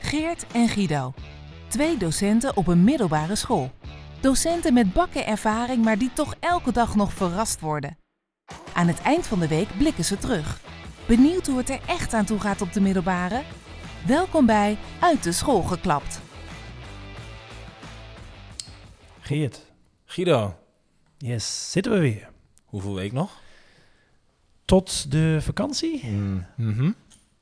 Geert en Guido. Twee docenten op een middelbare school. Docenten met bakken ervaring, maar die toch elke dag nog verrast worden. Aan het eind van de week blikken ze terug. Benieuwd hoe het er echt aan toe gaat op de middelbare? Welkom bij Uit de School geklapt. Geert, Guido, yes, zitten we weer. hoeveel week nog? Tot de vakantie Mhm.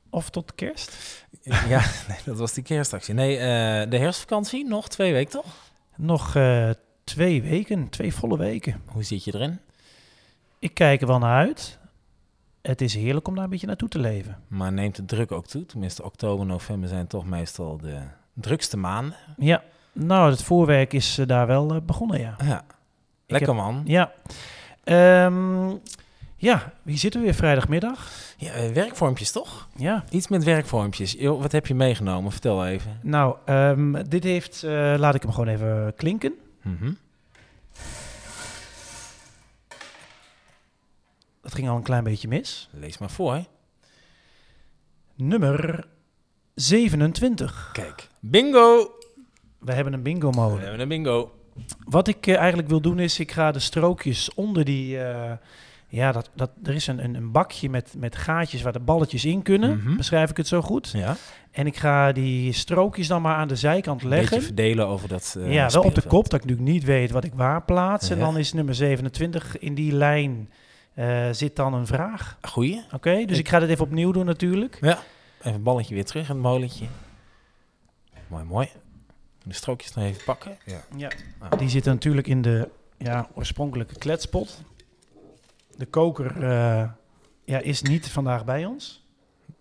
of tot kerst? Ja, nee, dat was die kerstactie. Nee, eh, de herfstvakantie, nog twee weken toch? Nog eh, twee weken, twee volle weken. Hoe zit je erin? Ik kijk er wel naar uit. Het is heerlijk om daar een beetje naartoe te leven. Maar neemt de druk ook toe? Tenminste, oktober, november zijn toch meestal de drukste maanden. Ja, nou, het voorwerk is eh, daar wel eh, begonnen, ja. Ja, lekker man. Ja. Ehm, ja, hier zitten we weer vrijdagmiddag. Ja, eh, werkvormpjes toch? Ja. Iets met werkvormpjes. Jo, wat heb je meegenomen? Vertel even. Nou, ehm, dit heeft, eh, laat ik hem gewoon even klinken. Mhm. Dat ging al een klein beetje mis. Lees maar voor. Nummer 27. Kijk, bingo! We hebben een bingo We molen. hebben een bingo. Wat ik eh, eigenlijk wil doen is, ik ga de strookjes onder die... eh, ja, dat, dat, er is een, een, een bakje met, met gaatjes waar de balletjes in kunnen. Mhm. Beschrijf ik het zo goed. Ja, En ik ga die strookjes dan maar aan de zijkant leggen. beetje verdelen over dat eh, ja, wel op de speelveld. kop, dat ik natuurlijk niet weet wat ik waar plaats. En Ja. dan is nummer 27 in die lijn eh, zit dan een vraag. Goeie. Oké, dus Ik- ik ga dit even opnieuw doen natuurlijk. Ja, even een balletje weer terug in het molentje. Mooi, mooi. De strookjes nog even pakken. Ja. Ja. Ah. Die zitten natuurlijk in de ja, oorspronkelijke kletspot. De koker eh, ja, is niet vandaag bij ons.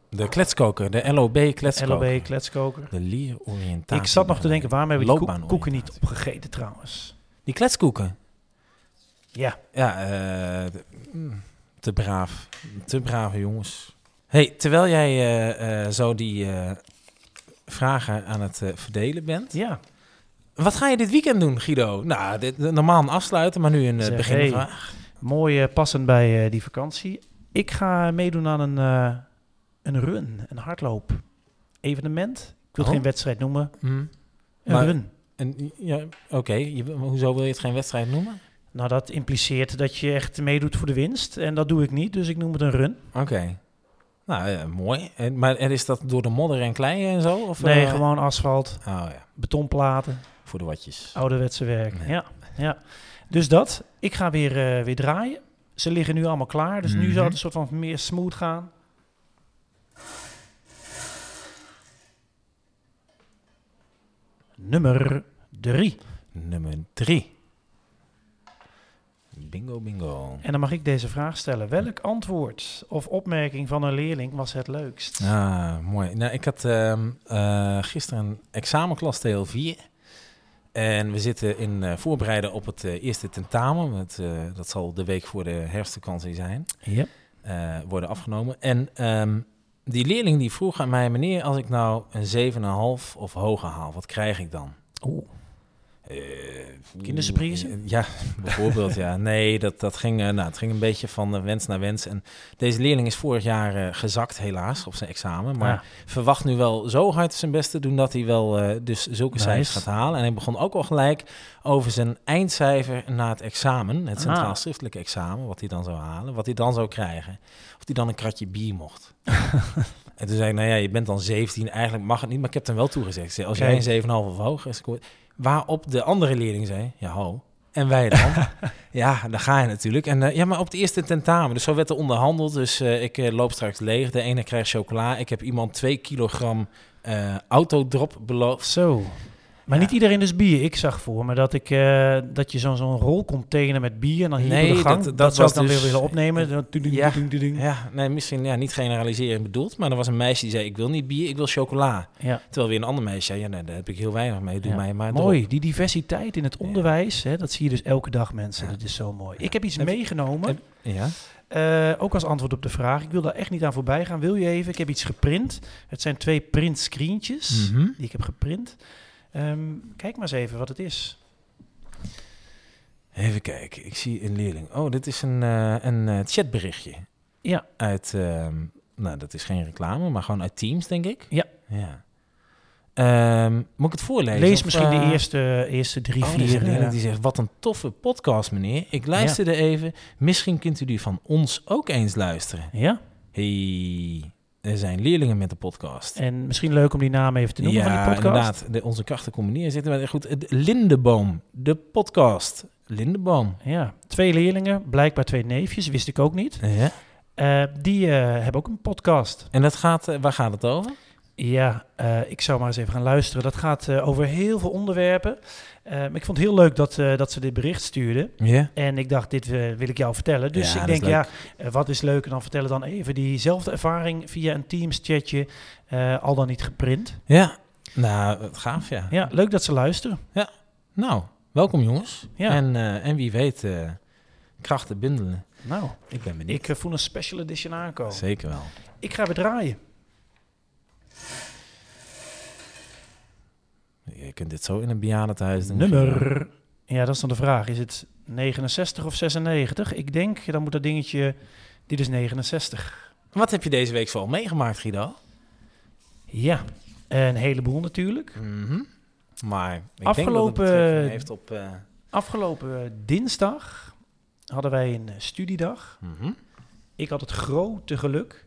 De kletskoker, de LOB kletskoker. LOB kletskoker. De lier oriëntatie. Ik zat nog te denken, waarom hebben we die koek- koeken Loopbaanoriëntatie. niet opgegeten trouwens? Die kletskoeken? Ja, Ja, eh, de- mm, te braaf. Te brave jongens. hey, terwijl jij eh, eh, zo die eh, vragen aan het eh, verdelen bent. ja. Wat ga je dit weekend doen, Guido? Nou, dit, normaal een afsluiten, maar nu een Zeg, eh beginvraag. Mooi eh, passend bij eh, die vakantie. Ik ga meedoen aan een, eh, een run, een hardloop evenement. Ik wil Oh. geen wedstrijd noemen. Mm. Een Maar- run. En, ja, Oké, je- maar hoezo wil je het geen wedstrijd noemen? Nou, dat impliceert dat je echt meedoet voor de winst. En dat doe ik niet, dus ik noem het een run. Oké. Nou, eh, mooi. En, maar en is dat door de modder en klei en zo? Of, nee, eh, gewoon asfalt, Oh ja, betonplaten, voor de watjes. ouderwetse werk. Nee. Ja, ja. Dus dat. Ik ga weer, eh, weer draaien. Ze liggen nu allemaal klaar, dus nu Mhm. zou het een soort van meer smooth gaan. Nummer 3. Nummer drie. Bingo, bingo. En dan mag ik deze vraag stellen. Welk antwoord of opmerking van een leerling was het leukst? Ah, mooi. Nou, ik had ehm, eh, gisteren een examenklas TL4. En we zitten in eh, voorbereiden op het eh, eerste tentamen. want, eh, dat zal de week voor de herfstvakantie zijn. Ja. eh, worden afgenomen. En ehm, die leerling die vroeg aan mij, meneer, als ik nou een 7,5 of hoger haal, wat krijg ik dan? Oeh. Eh, Kindersurprise? Ja, bijvoorbeeld, ja. Nee, dat, dat ging, eh, nou, het ging een beetje van eh, wens naar wens. En deze leerling is vorig jaar eh, gezakt, helaas, op zijn examen. Maar Ah. verwacht nu wel zo hard zijn best te doen dat hij wel eh, dus zulke Nice. cijfers gaat halen. En hij begon ook al gelijk over zijn eindcijfer na het examen, het Ah. centraal schriftelijke examen, wat hij dan zou halen, wat hij dan zou krijgen. Of hij dan een kratje bier mocht. en toen zei ik, nou ja, je bent dan 17, eigenlijk mag het niet, maar ik heb hem wel toegezegd. Ik zei, Als Kijk. jij een 7,5 of hoger scoort, waarop de andere leerling zei, ja ho, en wij dan? ja, daar ga je natuurlijk. En eh, ja, maar op het eerste tentamen, dus zo werd er onderhandeld. Dus eh, ik eh, loop straks leeg, de ene krijgt chocola, ik heb iemand 2 kilogram eh, autodrop beloofd. Zo. Maar Ja. niet iedereen dus bier. Ik zag voor me dat, ik, eh, dat je zo'n zo'n rolcontainer met bier en dan hier Nee, door de gang. dat- Dat, dat zou was ik dan dus- weer willen opnemen. Dan doeding, Ja. doeding, doeding. Ja, nee, misschien ja, niet generaliseren bedoeld, maar er was een meisje die zei: Ik wil niet bier, ik wil chocola. Ja. Terwijl weer een ander meisje zei: Ja, nee, daar heb ik heel weinig mee, doe Ja. mij maar. Mooi, erop." die diversiteit in het onderwijs, hè, dat zie je dus elke dag mensen. Dat is zo mooi. Ik heb iets Heb- meegenomen, heb- Ja. eh, ook als antwoord op de vraag. Ik wil daar echt niet aan voorbij gaan. Wil je even? Ik heb iets geprint. Het zijn twee print screentjes Mhm. die ik heb geprint. Ehm, kijk maar eens even wat het is. Even kijken, ik zie een leerling. Oh, dit is een, eh, een eh, chatberichtje. Ja. Uit, ehm, nou, dat is geen reclame, maar gewoon uit Teams, denk ik. Ja. ja. Ehm, moet ik het voorlezen? Lees Of, misschien eh, de eerste, eerste drie, Oh, er is vier. een ene ja. die zegt, wat een toffe podcast, meneer. Ik luisterde even. Misschien kunt u die van ons ook eens luisteren. Ja? Hey, er zijn leerlingen met de podcast. En misschien leuk om die naam even te noemen van die podcast. inderdaad. De, onze krachten combineren zitten. Maar goed, het Lindeboom, de podcast. Lindeboom. Ja, twee leerlingen, blijkbaar twee neefjes, wist ik ook niet. Ja. Eh, die eh, hebben ook een podcast. En dat gaat, eh, waar gaat het over? Ja, eh, ik zou maar eens even gaan luisteren. Dat gaat eh, over heel veel onderwerpen. Eh, maar ik vond het heel leuk dat, eh, dat ze dit bericht stuurden. Ja. En ik dacht, dit eh, wil ik jou vertellen. Dus Ja, ik dat is denk, ja, eh, wat is leuk? En dan vertellen dan even diezelfde ervaring via een Teams-chatje, eh, al dan niet geprint. Ja. Nou, wat gaaf, ja. Ja, leuk dat ze luisteren. Nou, welkom jongens. Ja. En, eh, en wie weet, eh, krachten bundelen. Nou, Ik ben benieuwd. ik eh, voel een special edition aankomen. Zeker wel. Ik ga weer draaien. Je kunt dit zo in een bejaardentehuis doen. Nummer. Ja, dat is dan de vraag. Is het 69 of 96? Ik denk, ja, dan moet dat dingetje... Dit is 69. Wat heb je deze week vooral meegemaakt, Guido? Ja, een heleboel natuurlijk. Maar ik denk dat Mhm. Afgelopen- het betrekking heeft op... eh, Afgelopen eh, dinsdag hadden wij een eh, studiedag. mhm. Ik had het grote geluk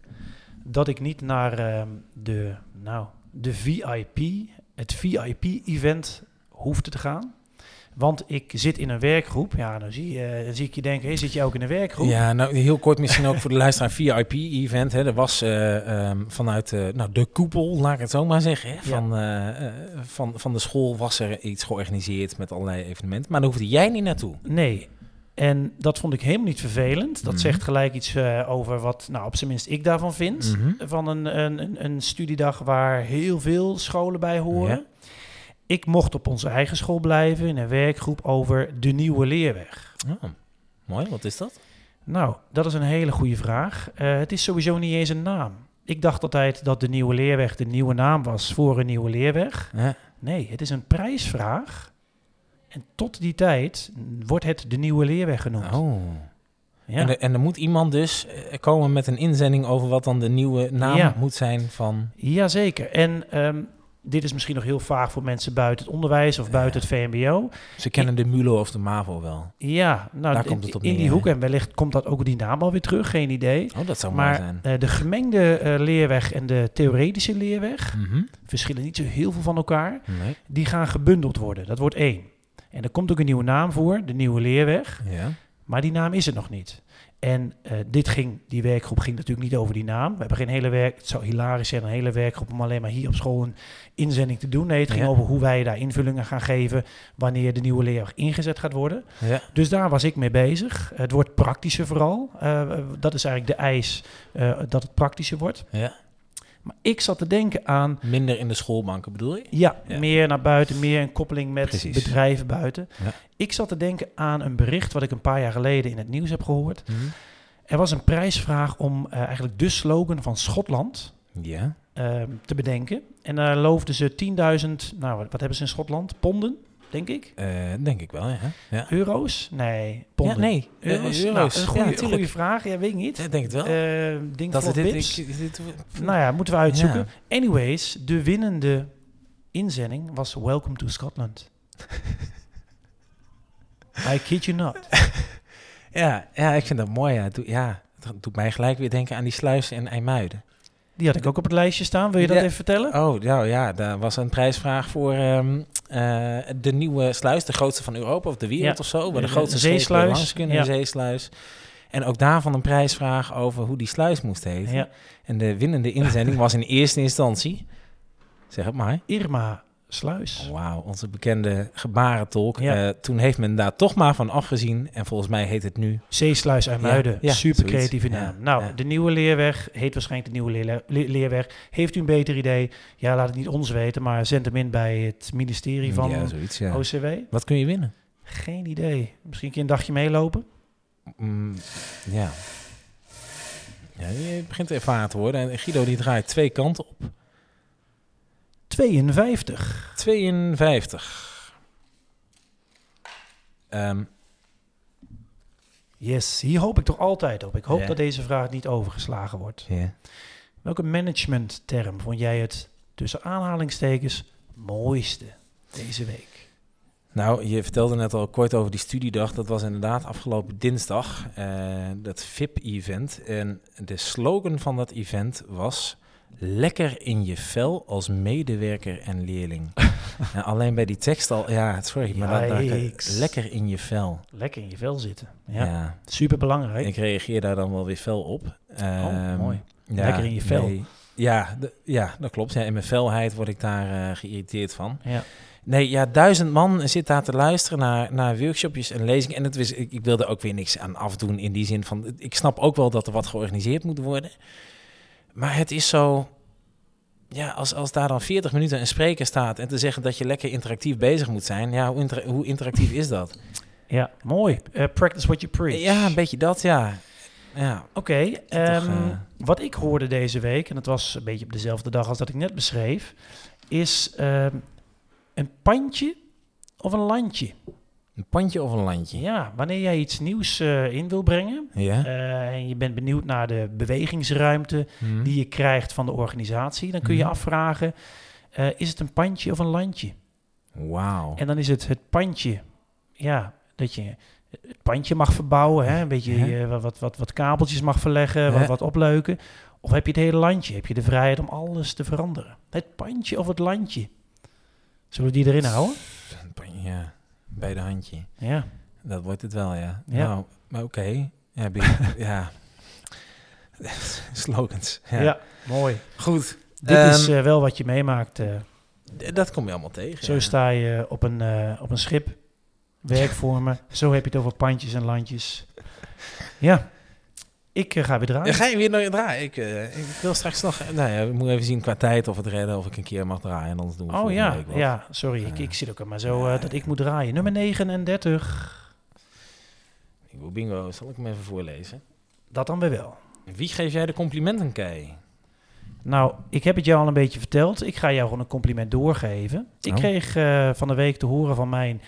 dat ik niet naar ehm, de, nou, de VIP, het VIP-event hoefde te gaan. Want ik zit in een werkgroep. Ja, dan zie, je, eh, dan zie ik je denken, hey, zit je ook in een werkgroep? Ja, nou heel kort misschien ook voor de luisteraar VIP-event. Er was eh, ehm, vanuit eh, nou, de koepel, laat ik het zo maar zeggen, hè, van, eh, eh, van, van de school was er iets georganiseerd met allerlei evenementen. Maar daar hoefde jij niet naartoe. Nee. En dat vond ik helemaal niet vervelend. Dat Mhm. zegt gelijk iets eh, over wat, nou, op zijn minst ik daarvan vind. Mhm. Van een, een, een- een studiedag waar heel veel scholen bij horen. Ja. Ik mocht op onze eigen school blijven in een werkgroep over de nieuwe leerweg. Oh, mooi, wat is dat? Nou, dat is een hele goede vraag. Eh, het is sowieso niet eens een naam. Ik dacht altijd dat de nieuwe leerweg de nieuwe naam was voor een nieuwe leerweg. Ja. Nee, het is een prijsvraag. En tot die tijd wordt het de nieuwe leerweg genoemd. Oh. Ja. En, er, en er moet iemand dus eh, komen met een inzending over wat dan de nieuwe naam Ja. moet zijn van... Jazeker. En ehm, dit is misschien nog heel vaag voor mensen buiten het onderwijs of buiten het VMBO. Ze kennen de MULO of de MAVO wel. Ja, nou, Daar d- komt het op in neer, die hè? hoek. En wellicht komt dat ook die naam alweer terug, geen idee. Oh, dat zou mooi Maar zijn. eh, de gemengde eh, leerweg en de theoretische leerweg Mhm. verschillen niet zo heel veel van elkaar. Nee. Die gaan gebundeld worden. Dat wordt één. En er komt ook een nieuwe naam voor, de nieuwe leerweg. Ja. Maar die naam is het nog niet. En eh, dit ging, die werkgroep ging natuurlijk niet over die naam. We hebben geen hele werk. Het zou hilarisch zijn, een hele werkgroep om alleen maar hier op school een inzending te doen. Nee, het ging Ja. over hoe wij daar invullingen gaan geven. Wanneer de nieuwe leerweg ingezet gaat worden. Ja. Dus daar was ik mee bezig. Het wordt praktischer vooral. Eh, dat is eigenlijk de eis eh, dat het praktischer wordt. ja. Maar ik zat te denken aan Minder in de schoolbanken bedoel je? ja, Ja. meer naar buiten, meer een koppeling met Precies. bedrijven buiten. Ja. Ik zat te denken aan een bericht wat ik een paar jaar geleden in het nieuws heb gehoord. Mhm. Er was een prijsvraag om eh, eigenlijk de slogan van Schotland Ja. eh, te bedenken. En daar loofden ze 10.000, nou wat wat hebben ze in Schotland? Ponden, denk ik? Eh, denk ik wel, ja. ja. Euro's? Nee, ponden. Ja, nee. Euro's? Eh, Nou, een Ja, goede, tuurlijk. vraag, ja, weet ik niet. Ik denk het wel. Eh ding dat voor we dit, pips. ik- dit- Nou ja, moeten we uitzoeken. Anyways, de winnende inzending was Welcome to Scotland. I kid you not. ja, ja, ik vind dat mooi. Ja. Het doet- ja, het doet mij gelijk weer denken aan die sluis in IJmuiden. Die had ik ook op het lijstje staan. Wil je dat Ja. even vertellen? Oh, nou ja, daar was een prijsvraag voor ehm, eh, de nieuwe sluis, de grootste van Europa of de wereld Ja. of zo. Waar de Een grootste zeesluis. schepen langs kunnen, Ja. een zeesluis. En ook daarvan een prijsvraag over hoe die sluis moest heten. Ja. En de winnende inzending was in eerste instantie, zeg het maar, Irma Sluis. Wauw, onze bekende gebarentolk. Ja. Eh, toen heeft men daar toch maar van afgezien. En volgens mij heet het nu... Zeesluis en Muiden. Ja, ja, Super creatieve zoiets. naam. Ja, nou, ja. de nieuwe leerweg heet waarschijnlijk de nieuwe leerle- le- leerweg. Heeft u een beter idee? Ja, laat het niet ons weten, maar zend hem in bij het ministerie van Ja, zoiets, ja. OCW. Wat kun je winnen? Geen idee. Misschien een keer een dagje meelopen. Mm, ja. ja. Je begint ervaren te worden. En Guido die draait twee kanten op. 52. 52. Ehm, Yes, hier hoop ik toch altijd op. Ik hoop Ja. dat deze vraag niet overgeslagen wordt. ja. Welke managementterm vond jij het tussen aanhalingstekens mooiste deze week? Nou, je vertelde net al kort over die studiedag. Dat was inderdaad afgelopen dinsdag, eh, dat VIP-event. En de slogan van dat event was... Lekker in je vel als medewerker en leerling. en alleen bij die tekst al, ja, sorry, maar dat, dat, Yikes. lekker in je vel. Lekker in je vel zitten. Ja, Ja. super belangrijk. ik reageer daar dan wel weer fel op. Ehm, Oh, mooi. Lekker in je vel. nee. Ja, d- ja, dat klopt. Ja, in mijn felheid word ik daar eh, geïrriteerd van. Ja. Nee, ja, duizend man zit daar te luisteren naar, naar workshopjes en lezingen. En het was, ik, ik wilde ook weer niks aan afdoen in die zin van... Ik snap ook wel dat er wat georganiseerd moet worden. Maar het is zo... Ja, als, als daar dan 40 minuten een spreker staat... en te zeggen dat je lekker interactief bezig moet zijn... ja, hoe, inter- hoe interactief is dat? ja, mooi. Eh, practice what you preach. Ja, een beetje dat, ja. Ja, Oké, Toch, ehm, eh, wat ik hoorde deze week, en dat was een beetje op dezelfde dag als dat ik net beschreef, is ehm, een pandje of een landje. een pandje of een landje. Ja, wanneer jij iets nieuws eh, in wil brengen Ja. eh, en je bent benieuwd naar de bewegingsruimte Hm. die je krijgt van de organisatie, dan kun je Mhm. afvragen, eh, is het een pandje of een landje? Wauw. En dan is het het pandje, ja, dat je het pandje mag verbouwen, hè? een beetje Ja. eh, wat, wat, wat kabeltjes mag verleggen, Ja. wat, wat opleuken. Of heb je het hele landje? Heb je de vrijheid om alles te veranderen? Het pandje of het landje? Zullen we die erin houden? Een pandje, Ja, bij de handje. Ja. Dat wordt het wel, ja. Ja. Nou, maar oké. Ja, be- ja. Slogans. Ja. Ja. mooi. Goed. Dit Ehm, is eh, wel wat je meemaakt. eh. d- dat kom je allemaal tegen. Zo ja. sta je op een, eh, op een schip, werkvormen. Zo heb je het over pandjes en landjes. Ja, ik eh, ga weer draaien. Ja, Ga je weer naar je draaien? Ik, eh, ik wil straks nog... Nou ja, we moeten even zien qua tijd of het redden of ik een keer mag draaien. Anders doen we Oh volgende ja, week wat. ja sorry. Ik, Ja. ik zit ook er maar zo eh, Ja, dat ja. ik moet draaien. Nummer 39, Ik wil bingo. Zal ik hem even voorlezen? dat dan weer wel. Wie geef jij de complimenten, Kei? Nou, ik heb het jou al een beetje verteld. Ik ga jou gewoon een compliment doorgeven. Ik Oh. kreeg eh, van de week te horen van mijn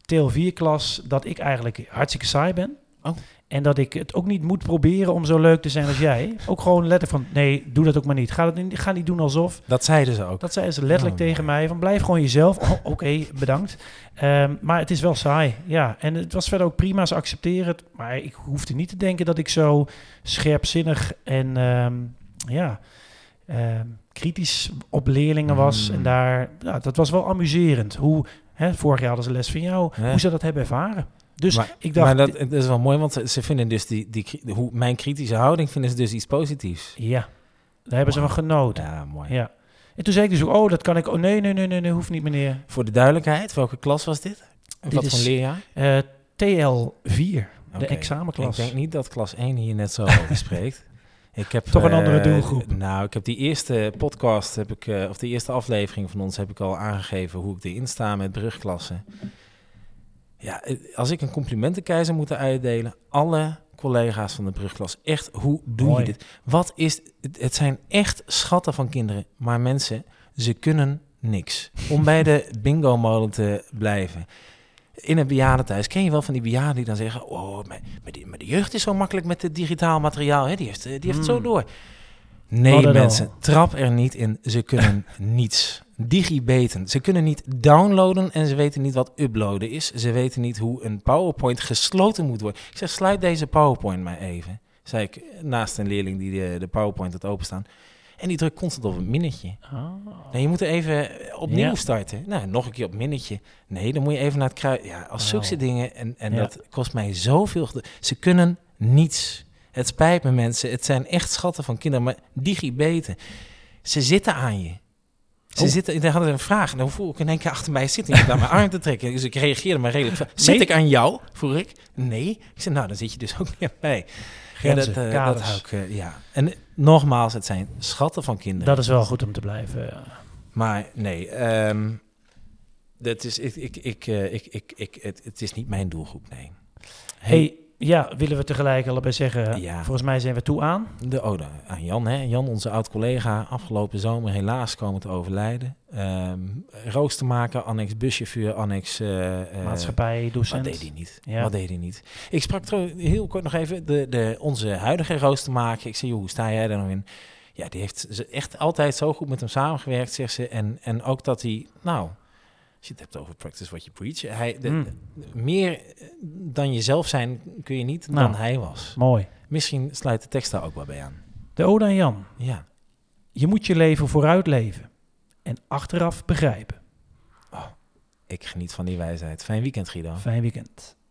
Teel 4-klas dat ik eigenlijk hartstikke saai ben. Oh. En dat ik het ook niet moet proberen om zo leuk te zijn als jij. Ook gewoon letterlijk van, nee, doe dat ook maar niet. Ga, dat, niet- ga niet doen alsof. Dat zeiden ze ook. Dat zei ze letterlijk Oh, tegen mij, van blijf gewoon jezelf. Oh, Oké, bedankt. Ehm, maar het is wel saai, ja. En het was verder ook prima, ze accepteren het. Maar ik hoefde niet te denken dat ik zo scherpzinnig en ehm, ja, ehm, kritisch op leerlingen was. Mm. En daar, ja, dat was wel amuserend. Hoe, hè, vorig jaar hadden ze les van jou, Ja. hoe ze dat hebben ervaren. Dus maar, ik dacht, maar dat, het is wel mooi, want ze, ze vinden dus die, die, kri- hoe, mijn kritische houding vinden ze dus iets positiefs. ja, daar hebben ze Wauw. van genoten. Ja, mooi. Ja. En toen zei ik dus ook, oh, dat kan ik. Oh, nee, nee, nee, nee, nee hoeft niet, meneer. Voor de duidelijkheid, welke klas was dit? Dit Wat is- voor leerjaar? Eh, TL4. Oké. De examenklas. Ik denk niet dat klas 1 hier net zo over spreekt. Ik heb, Toch een eh, andere doelgroep. Nou, ik heb die eerste podcast, heb ik, eh, of de eerste aflevering van ons, heb ik al aangegeven hoe ik erin sta met brugklassen. Ja, eh, als ik een complimentenkeizer moet uitdelen, alle collega's van de brugklas, echt, hoe doe Mooi. je dit? Wat is, het- het zijn echt schatten van kinderen, maar mensen, ze kunnen niks. Om bij de bingo-molen te blijven. In een bejaardentehuis ken je wel van die bejaarden die dan zeggen... oh, maar, maar, die, maar de jeugd is zo makkelijk met het digitaal materiaal. Hè? Die heeft, eh, die heeft het zo Hmm. door. Nee, Not at all. mensen, trap er niet in. Ze kunnen niets. Digibeten. Ze kunnen niet downloaden en ze weten niet wat uploaden is. Ze weten niet hoe een PowerPoint gesloten moet worden. Ik zeg, sluit deze PowerPoint maar even. Zei ik eh, naast een leerling die de, de PowerPoint had openstaan. En die drukt constant op een minnetje. Nee, je moet er even eh, opnieuw Oh. Ja. starten. Nou, nog een keer op minnetje. Nee, dan moet je even naar het kruid. Ja, als zulke Wauw. dingen. En, en Oh. Ja. dat kost mij zoveel. gede- Ze kunnen niets. Het spijt me, mensen. Het zijn echt schatten van kinderen. Maar digibeten. Ze zitten aan je. Ze Oh. zitten, daar hadden ze een vraag. En dan voel ik in één keer achter mij zitten. Ik naar mijn arm te trekken. Dus ik reageerde maar redelijk. va- Zit Nee. ik aan jou? Vroeg ik. Nee. Ik zei, nou, dan zit je dus ook niet aan mij. Grenzen, ja, dat, eh, dat kaders. hou ik, eh, ja. En eh, nogmaals, het zijn schatten van kinderen. Dat is wel goed om te blijven. eh. Maar nee, ehm, dat is, ik, ik, ik, eh, ik, ik, ik, het, het is niet mijn doelgroep, nee. Hey, ja, willen we tegelijk allebei zeggen. Ja. Volgens mij zijn we toe aan. De ode aan Jan, hè. Jan, onze oud-collega, afgelopen zomer helaas komen te overlijden. Ehm roostermaker, annex buschauffeur, annex... eh, eh, Maatschappij, docent. Wat deed hij niet? Ja. Wat deed hij niet? Ik sprak trouw- heel kort nog even de, de, onze huidige roostermaker. Ik zei, joh, hoe sta jij daar nou in? Ja, die heeft ze echt altijd zo goed met hem samengewerkt, zegt ze. En, en ook dat hij, nou, als je het hebt over practice what you preach. Hij, de- Mm. Meer eh, dan jezelf zijn kun je niet Nou. dan hij was. Mooi. Misschien sluit de tekst daar ook wel bij aan. De Ode aan Jan. Ja. Je moet je leven vooruit leven en achteraf begrijpen. Ik geniet van die wijsheid. Fijn weekend, Guido. Fijn weekend.